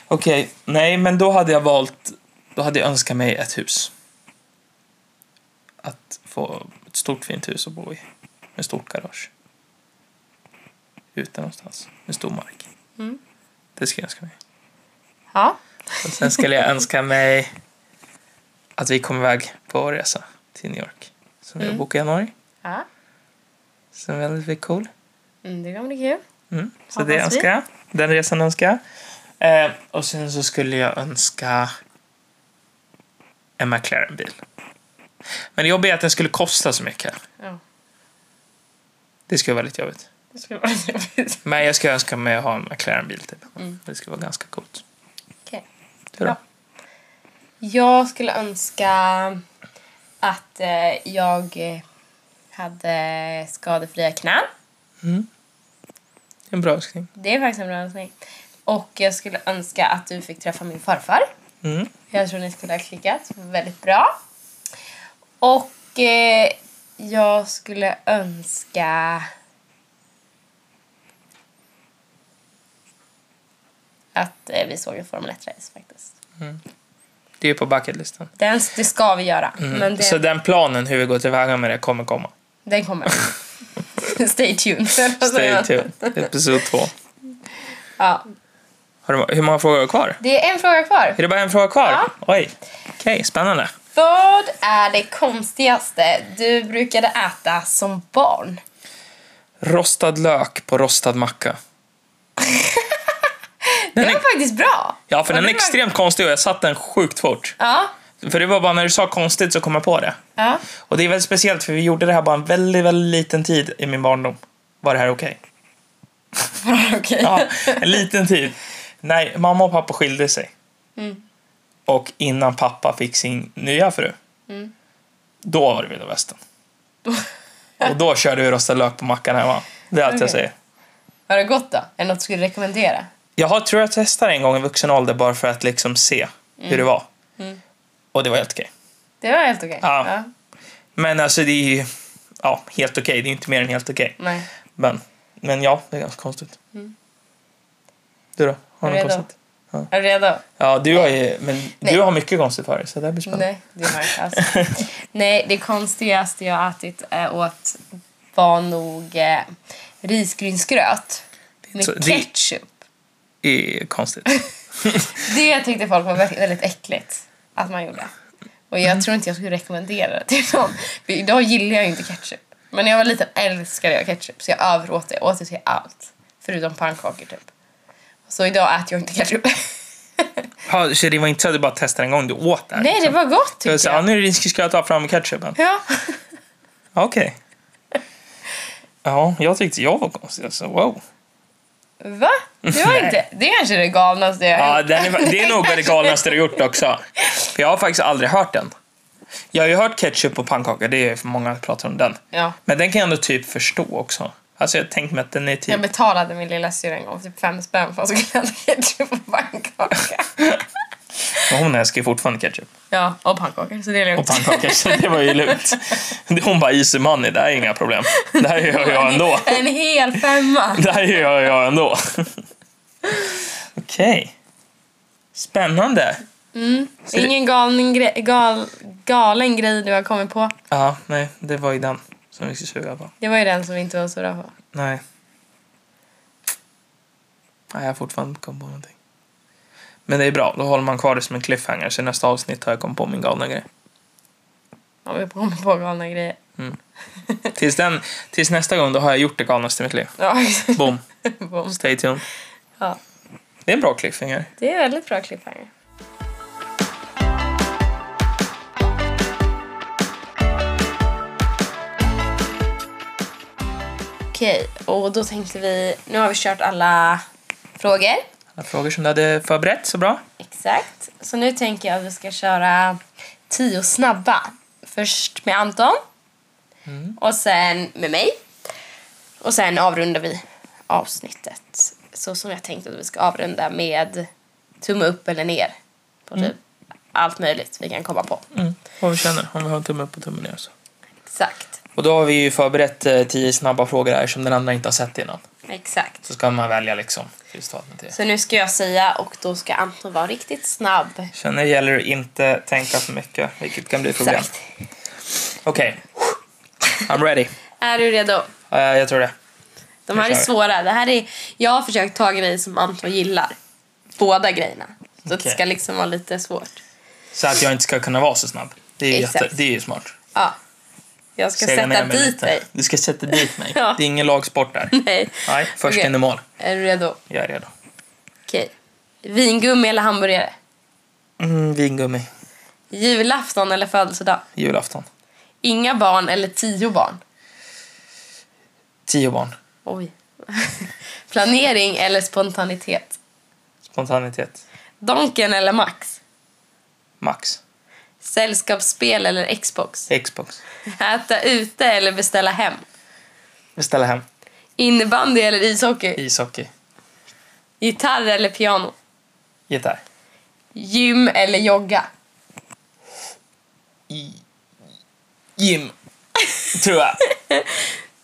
S3: Okej, nej men då hade jag valt... Då hade jag önskat mig ett hus. Att få ett stort fint hus att bo i. Med stort garage. Ute någonstans. Med stor mark.
S1: Mm.
S3: Det skulle jag önska mig.
S1: Ja,
S3: Och sen skulle jag önska mig att vi kom iväg på resa till New York. Som vi
S1: Mm.
S3: bokade i januari.
S1: ja.
S3: Som är väldigt, väldigt cool.
S1: Mm, det kommer bli kul.
S3: Mm. Så
S1: Hoppas
S3: det
S1: vi.
S3: önskar jag. Den resan önskar jag. Eh, och sen så skulle jag önska en McLaren-bil. Men det jobbiga är att den skulle kosta så mycket.
S1: Ja,
S3: Det skulle vara lite jobbigt.
S1: det skulle vara jobbigt.
S3: Men jag skulle önska mig att ha en McLaren-bil. Typ.
S1: Mm.
S3: Det skulle vara ganska coolt.
S1: Okej.
S3: Du då?
S1: Bra. Jag skulle önska att eh, jag eh, hade skadefria knän.
S3: En bra önskning.
S1: Det är faktiskt en bra önskning. Och jag skulle önska att du fick träffa min farfar.
S3: Mm.
S1: Jag tror ni skulle ha klickat väldigt bra. Och eh, jag skulle önska att eh, vi såg en Formel 1-race faktiskt.
S3: Det är ju på bucketlistan.
S1: Den, det ska vi göra, men
S3: Mm. Så
S1: det,
S3: den planen hur vi går tillväga med det kommer komma.
S1: den kommer. Stay tuned.
S3: Stay tuned. Episod två.
S1: Ja.
S3: Har du, hur många frågor har du kvar?
S1: Det är en fråga kvar.
S3: Är det bara en fråga kvar?
S1: Ja.
S3: Oj. Okej, spännande.
S1: Vad är det konstigaste du brukade äta som barn?
S3: Rostad lök på rostad macka.
S1: Det var faktiskt bra.
S3: Ja, för
S1: Ja,
S3: den är
S1: det var-
S3: extremt konstig och jag satt den sjukt fort.
S1: Ja.
S3: För det var bara när du sa konstigt så kom jag på det.
S1: ja.
S3: Och det är väldigt speciellt för vi gjorde det här bara en väldigt, väldigt liten tid i min barndom. Var det här okej?
S1: Okej.
S3: Ja, en liten tid. Nej, mamma och pappa skilde sig.
S1: Mm.
S3: Och innan pappa fick sin nya fru.
S1: Mm.
S3: Då var det vilda västern. och då körde vi rostad lök på mackan hemma. Det är allt jag
S1: Okej.
S3: säger.
S1: Var det gott då? Är det något du skulle rekommendera?
S3: Jag har, tror jag testade en gång i vuxen ålder bara för att liksom se hur det var.
S1: Mm.
S3: Och det var helt okej.
S1: Det var helt okej.
S3: Ja. Men alltså det är ju ja, helt okej. Det är inte mer än helt okej.
S1: Nej.
S3: Men, men ja, det är ganska konstigt. Du då? Har du något
S1: Redo.
S3: konstigt?
S1: Mm. Är du redo?
S3: Ja, du har ju, men du har mycket konstigt för dig så det här blir spännande.
S1: Nej, det har jag inte alls. Nej, det konstigaste jag har ätit eh, åt var nog eh, risgrynsgröt med
S3: Så det-
S1: ketchup.
S3: Det är konstigt.
S1: Det tyckte folk var vä- väldigt äckligt att man gjorde. Och jag tror inte jag skulle rekommendera det till någon. För idag gillar jag ju inte ketchup. Men när jag var liten älskade jag ketchup så jag överåt det. Jag åt det till allt. Förutom pannkakor typ. Så idag äter jag inte ketchup.
S3: Ja, så det var inte så att du bara testade en gång, du åt det här,
S1: Nej, det
S3: liksom.
S1: var gott
S3: Så jag
S1: tyckte
S3: sa, ja,
S1: jag.
S3: nu är det risk att ta fram ketchupen.
S1: Ja.
S3: Ja, Okej. Ja, jag tyckte jag var konstig. Alltså, wow.
S1: Va? Det var inte... Det är kanske det galnaste jag har
S3: Ja,
S1: gjort.
S3: den är, det är nog det galnaste du gjort också. För jag har faktiskt aldrig hört den. Jag har ju hört ketchup och pannkaka, det är för många som pratar om den.
S1: Ja.
S3: Men den kan jag ändå typ förstå också. Alltså jag tänkte mig att den är typ...
S1: Jag betalade min lilla syster en gång typ fem spänn för att hon skulle äta ketchup och pannkaka.
S3: Men hon älskar ju fortfarande ketchup
S1: Ja, och pannkakor. Så det är
S3: och
S1: lugnt.
S3: pannkaka så det var ju lugnt. Hon bara easy money, det här är inga problem. Det här gör jag ändå.
S1: En hel femma.
S3: Det här gör jag ändå. Okej. Spännande.
S1: Mm.
S3: Så det-
S1: Ingen galen, gre- gal, galen grej du har kommit på.
S3: Ja, nej, det var ju den som vi skulle suga på.
S1: Det var ju den som vi inte var så bra på.
S3: Nej. Nej, jag har fortfarande inte kommit på någonting. Men det är bra, då håller man kvar det som en cliffhanger. Så i nästa avsnitt har jag kommit på min galna grej.
S1: Om vi kommer på galna grejer.
S3: Tills, den, tills nästa gång, då har jag gjort det galnaste i mitt liv.
S1: Ja, exakt.
S3: Boom.
S1: Bom.
S3: Stay tuned.
S1: Ja.
S3: Det är en bra cliffhanger.
S1: Det är väldigt bra cliffhanger. Okej, och då tänkte vi... Nu har vi kört alla frågor.
S3: Alla frågor som du hade förberett så bra.
S1: Exakt. Så nu tänker jag att vi ska köra tio snabba. Först med Anton. Och sen med mig. Och sen avrundar vi avsnittet. Så som jag tänkte att vi ska avrunda med tumme upp eller ner. På typ allt möjligt vi kan komma på.
S3: Mm. Vad vi känner, om vi har en tumme upp och tummen ner. Så.
S1: Exakt.
S3: Och då har vi ju förberett eh, tio snabba frågor här som den andra inte har sett innan.
S1: Exakt.
S3: Så ska man välja liksom. Just vad det är.
S1: Så nu ska jag säga och då ska Anton vara riktigt snabb.
S3: Sen när det gäller att inte tänka för mycket, vilket kan bli problem.
S1: Exakt.
S3: Okej. I'm ready.
S1: Är du redo?
S3: Eh, jag tror det.
S1: De här
S3: Nu
S1: är
S3: kör vi.
S1: svåra. Det här är, jag har försökt ta grejer som Anton gillar. Båda grejerna. Så att det
S3: Okej.
S1: ska liksom vara lite svårt.
S3: Så att jag inte ska kunna vara så snabb. Det är ju,
S1: Exakt.
S3: jätte, det är ju smart.
S1: Ja. Jag ska
S3: Sega ner
S1: sätta
S3: mig
S1: dit
S3: lite.
S1: dig.
S3: Du ska sätta dit mig.
S1: Ja.
S3: Det är ingen lagsport där.
S1: Nej.
S3: Nej, först
S1: Okej.
S3: in i mål.
S1: Är du redo?
S3: Jag är redo.
S1: Okej. Vingummi eller hamburgare?
S3: Mm, vingummi.
S1: Julafton eller födelsedag?
S3: Julafton.
S1: Inga barn eller tio barn?
S3: Tio barn.
S1: Oj. Planering eller spontanitet?
S3: Spontanitet.
S1: Donken eller Max?
S3: Max.
S1: Sällskapsspel eller Xbox?
S3: Xbox.
S1: Äta ute eller beställa hem?
S3: Beställa hem.
S1: Innebandy eller ishockey?
S3: Ishockey.
S1: Gitarr eller piano?
S3: Gitarr.
S1: Gym eller jogga?
S3: I... Gym. Tror jag.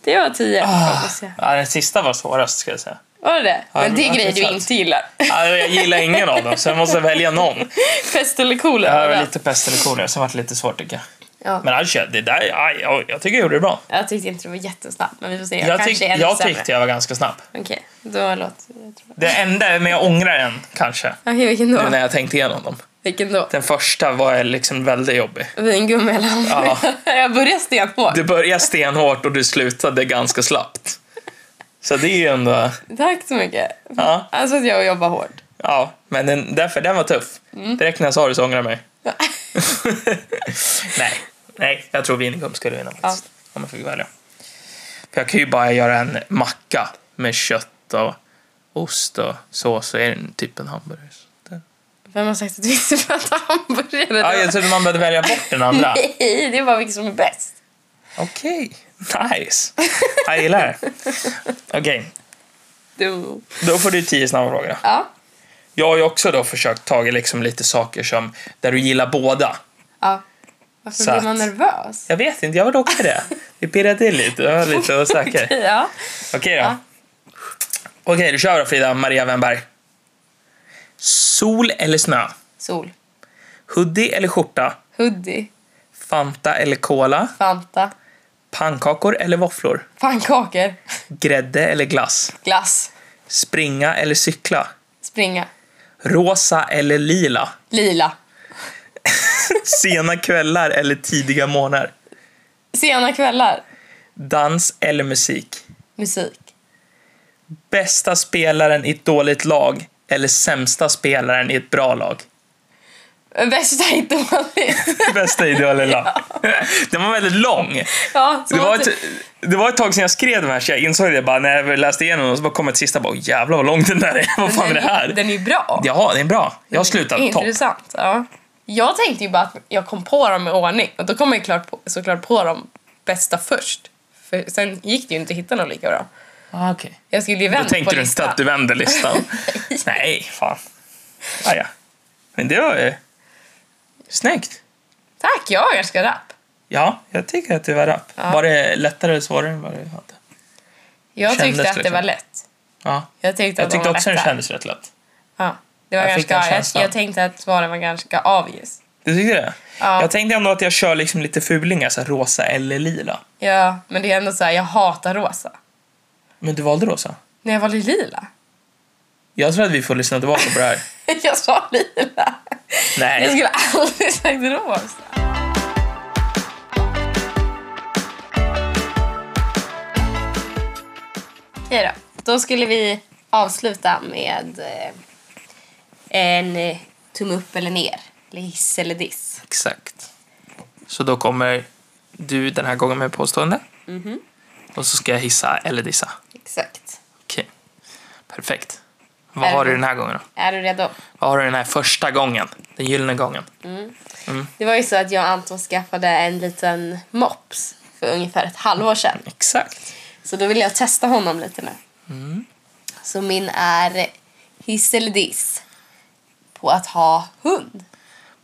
S1: Det var tio.
S3: Ah.
S1: hoppas jag.
S3: Ja, den sista var svårast ska jag säga.
S1: Var det det?
S3: Ja,
S1: Men det
S3: det
S1: är
S3: var
S1: grejer du
S3: intressant.
S1: inte gillar.
S3: Ja, jag gillar ingen av dem så jag måste välja någon.
S1: Pest eller kolera?
S3: Jag
S1: var
S3: har
S1: bra.
S3: lite pest eller kolera så det har varit lite svårt tycker jag.
S1: Ja.
S3: Men alltså, det där, ja, jag, jag tycker jag gjorde det bra.
S1: Jag tyckte inte det var jättesnabbt, men vi får se. Jag,
S3: Jag, tyck,
S1: kanske är ännu
S3: jag
S1: sämre.
S3: tyckte jag var ganska snabb.
S1: Okej, då låter jag tror.
S3: Det enda, men jag ångrar en kanske.
S1: Okej, vilken
S3: Nu
S1: då?
S3: när jag tänkte igenom dem.
S1: Vilken då?
S3: Den första var jag liksom väldigt jobbig.
S1: Vingummi eller hamburgare? jag börjar stenhårt.
S3: Du började stenhårt och du slutade ganska slappt. Så det är ju ändå...
S1: Tack så mycket.
S3: Ja,
S1: Alltså att jag jobbar hårt.
S3: ja. men den, därför den var tuff.
S1: Mm.
S3: Direkt när jag sa det så ångrar jag mig. nej, nej, jag tror Vingum skulle vinna faktiskt. Om jag fick välja. För jag kan ju bara göra en macka med kött och ost och sås så är det typ en hamburgare.
S1: Vem har sagt att vi inte får äta hamburgare?
S3: Ja, jag trodde man behövde välja bort den andra.
S1: Nej, det är bara vilken som är bäst.
S3: Okej, nice. Jag gillar det. Okej,
S1: Du.
S3: då får du tio snabba frågor.
S1: Ja.
S3: Jag har ju också då försökt ta liksom lite saker som där du gillar båda.
S1: ja. Varför
S3: Så
S1: blir
S3: att-
S1: man nervös?
S3: Jag vet inte, jag var också det. Det pirrade till lite, jag var lite osäker.
S1: Ja.
S3: Okej då.
S1: Ja.
S3: Okej, du kör då Frida Maria Wennberg. Sol eller snö?
S1: Sol.
S3: Hoodie eller skjorta?
S1: Hoodie.
S3: Fanta eller cola?
S1: Fanta.
S3: Pannkakor eller våfflor?
S1: Pannkakor.
S3: Grädde eller glass?
S1: Glass.
S3: Springa eller cykla?
S1: Springa.
S3: Rosa eller lila?
S1: Lila.
S3: Sena kvällar eller tidiga morgnar?
S1: Sena kvällar.
S3: Dans eller musik?
S1: Musik.
S3: Bästa spelaren i ett dåligt lag eller sämsta spelaren i ett bra lag?
S1: Bästa är inte vanligt.
S3: Bästa i ett dåligt lag. Den var väldigt lång.
S1: Ja,
S3: Det
S1: som
S3: var,
S1: att-
S3: typ- ett, det var ett tag sedan jag skrev de här så jag insåg det bara när jag läste igenom dem och så bara kom ett sista bara "Åh, jävlar vad lång den där är. Vad fan är det här?
S1: Den är ju bra.
S3: Jaha, den är bra. Jag slutar topp.
S1: Intressant. Ja. Jag tänkte ju bara att jag kom på dem i ordning och då kom jag klart på, såklart på de bästa först. För sen gick det ju inte att hitta någon lika bra.
S3: Ah, okay.
S1: Jag skulle ju
S3: Då
S1: vända på
S3: tänkte du inte
S1: listan.
S3: att du vände listan. Nej, fan. Ah, ja. Men det var ju snyggt.
S1: Tack, jag är ganska rapp.
S3: Ja, jag tycker att det var rapp. Var det lättare eller svårare än vad du hade?
S1: Jag tyckte
S3: Kändes
S1: att det
S3: liksom.
S1: var lätt.
S3: Ja.
S1: Jag tyckte,
S3: Jag
S1: att de
S3: tyckte
S1: var
S3: också den
S1: lätta.
S3: kändes rätt lätt.
S1: Ja, det var
S3: Jag fick den
S1: ganska,
S3: känslan.
S1: jag, jag tänkte att svaren var ganska obvious.
S3: Du tyckte det?
S1: Ja.
S3: Jag tänkte ändå att jag kör liksom lite fulingar, så här rosa eller lila.
S1: Ja, men det är ändå så här, jag hatar rosa.
S3: Men du valde rosa.
S1: När jag var lila.
S3: Jag tror att vi får lyssna tillbaka på det här.
S1: Jag sa lila. Jag
S3: Nej.
S1: skulle aldrig sagt rosa. Okej då. Då skulle vi avsluta med eh, en eh, tumme upp eller ner. Eller hiss eller diss.
S3: Exakt. Så då kommer du den här gången med påstående.
S1: Mhm.
S3: Och så ska jag hissa eller dissa.
S1: Exakt.
S3: Okej. Perfekt. Vad har du den här gången då?
S1: Är du redo?
S3: Vad har du den här första gången? Den gyllene gången.
S1: Det var ju så att jag och Anton skaffade en liten mops för ungefär ett halvår sedan.
S3: Exakt.
S1: Så då vill jag testa honom lite nu.
S3: Mm.
S1: Så min är hiss eller diss på att ha hund.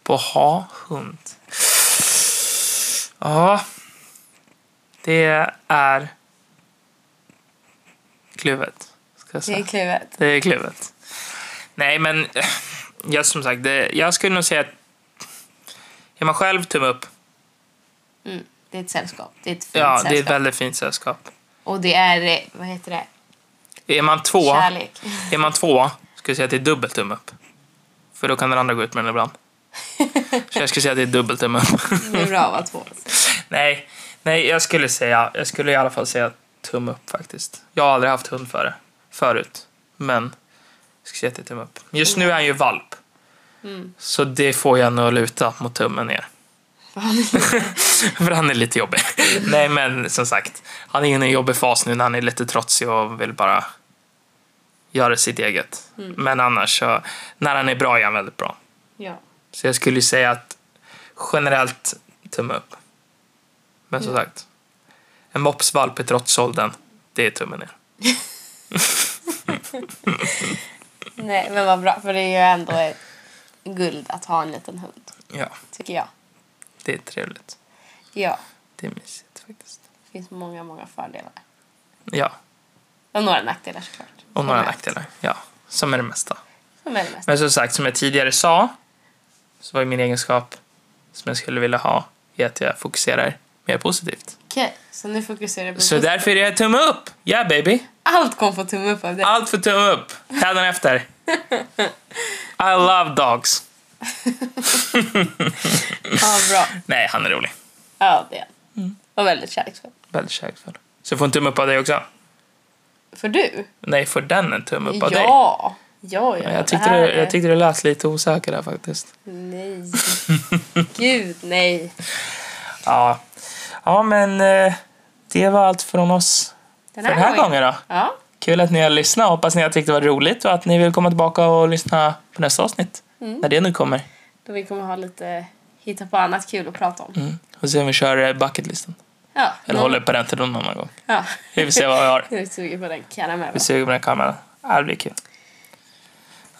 S3: På ha hund. Ja. Det är kluvet. Ska jag
S1: Det är
S3: säga.
S1: kluvet.
S3: Det är kluvet. Nej, men eh, jag som sagt, det, jag skulle nog säga att är man själv tumme upp.
S1: Mm. Det är ett sällskap. Det är ett fint
S3: Ja,
S1: sällskap.
S3: det är ett väldigt fint sällskap.
S1: Och det är, eh, vad heter det,
S3: Är man två,
S1: kärlek.
S3: är man två skulle jag säga att det är dubbelt tumme upp. För då kan den andra gå ut med den ibland. Så jag skulle säga att det är dubbelt tumme upp.
S1: Det är bra att vara två.
S3: Nej, nej jag, skulle säga, jag skulle i alla fall säga tumme upp faktiskt. Jag har aldrig haft hund före, förut. Men jag skulle säga att det är tumme upp. Just nu är han ju valp. Så det får jag nog luta mot tummen ner. För han är lite jobbig. Nej men som sagt, han är inne i en jobbig fas nu när han är lite trotsig och vill bara göra sitt eget. Men annars så, när han är bra är han väldigt bra.
S1: Ja.
S3: Så jag skulle ju säga att generellt tumme upp. Men som sagt, en mopsvalp i trotsåldern, det är tummen ner.
S1: Nej, men vad bra. För det är ju ändå ett guld att ha en liten hund,
S3: Ja,
S1: tycker jag.
S3: det är trevligt.
S1: Ja,
S3: Det är mysigt faktiskt.
S1: det finns många, många fördelar.
S3: Ja,
S1: Och några nackdelar såklart.
S3: och några
S1: Som är-
S3: nackdelar. Ja, som är det mesta.
S1: Som är det mesta.
S3: Men som sagt, som jag tidigare sa, så var ju min egenskap som jag skulle vilja ha, är att jag fokuserar mer positivt.
S1: Okej, så nu fokuserar vi på...
S3: Så därför är det tumme upp! Yeah baby!
S1: Allt kom på tumme upp av det.
S3: Allt för tumme upp. Hädanefter. I love dogs.
S1: Ja, bra.
S3: Nej, han är rolig.
S1: Ja, det är
S3: Mm.
S1: Och väldigt kärleksfull.
S3: Väldigt kärleksfull. Så får en tumme upp av dig också?
S1: För du?
S3: Nej, får den en tumme upp av dig?
S1: Ja. Ja, ja.
S3: Men Jag tyckte,
S1: det här
S3: du,
S1: är-
S3: jag tyckte du lät lite osäker där faktiskt.
S1: Nej. Gud, nej.
S3: Ja, ja men eh, det var allt från oss
S1: Den
S3: för den här gången då.
S1: Ja.
S3: Kul att ni har lyssnat. Hoppas ni har tyckt det var roligt och att ni vill komma tillbaka och lyssna på nästa avsnitt.
S1: Mm.
S3: När det nu kommer.
S1: Då vi kommer ha lite... Hitta på annat kul att prata om.
S3: Mm. Och se om vi kör eh, bucketlisten.
S1: Ja.
S3: Eller håller på den till någon annan gång.
S1: Ja.
S3: Vi får se vad vi har.
S1: Jag är sugen på den karamellen.
S3: Vi suger på den här kameran. Ja, det blir kul.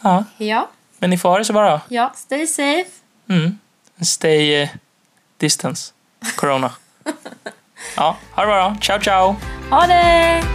S3: Ja,
S1: Ja,
S3: men ni får ha det så bra.
S1: ja. Stay safe.
S3: Mm. Stay eh, distance. Corona. ja, ha det bra. Oh, Ciao, ciao.
S1: Ha det!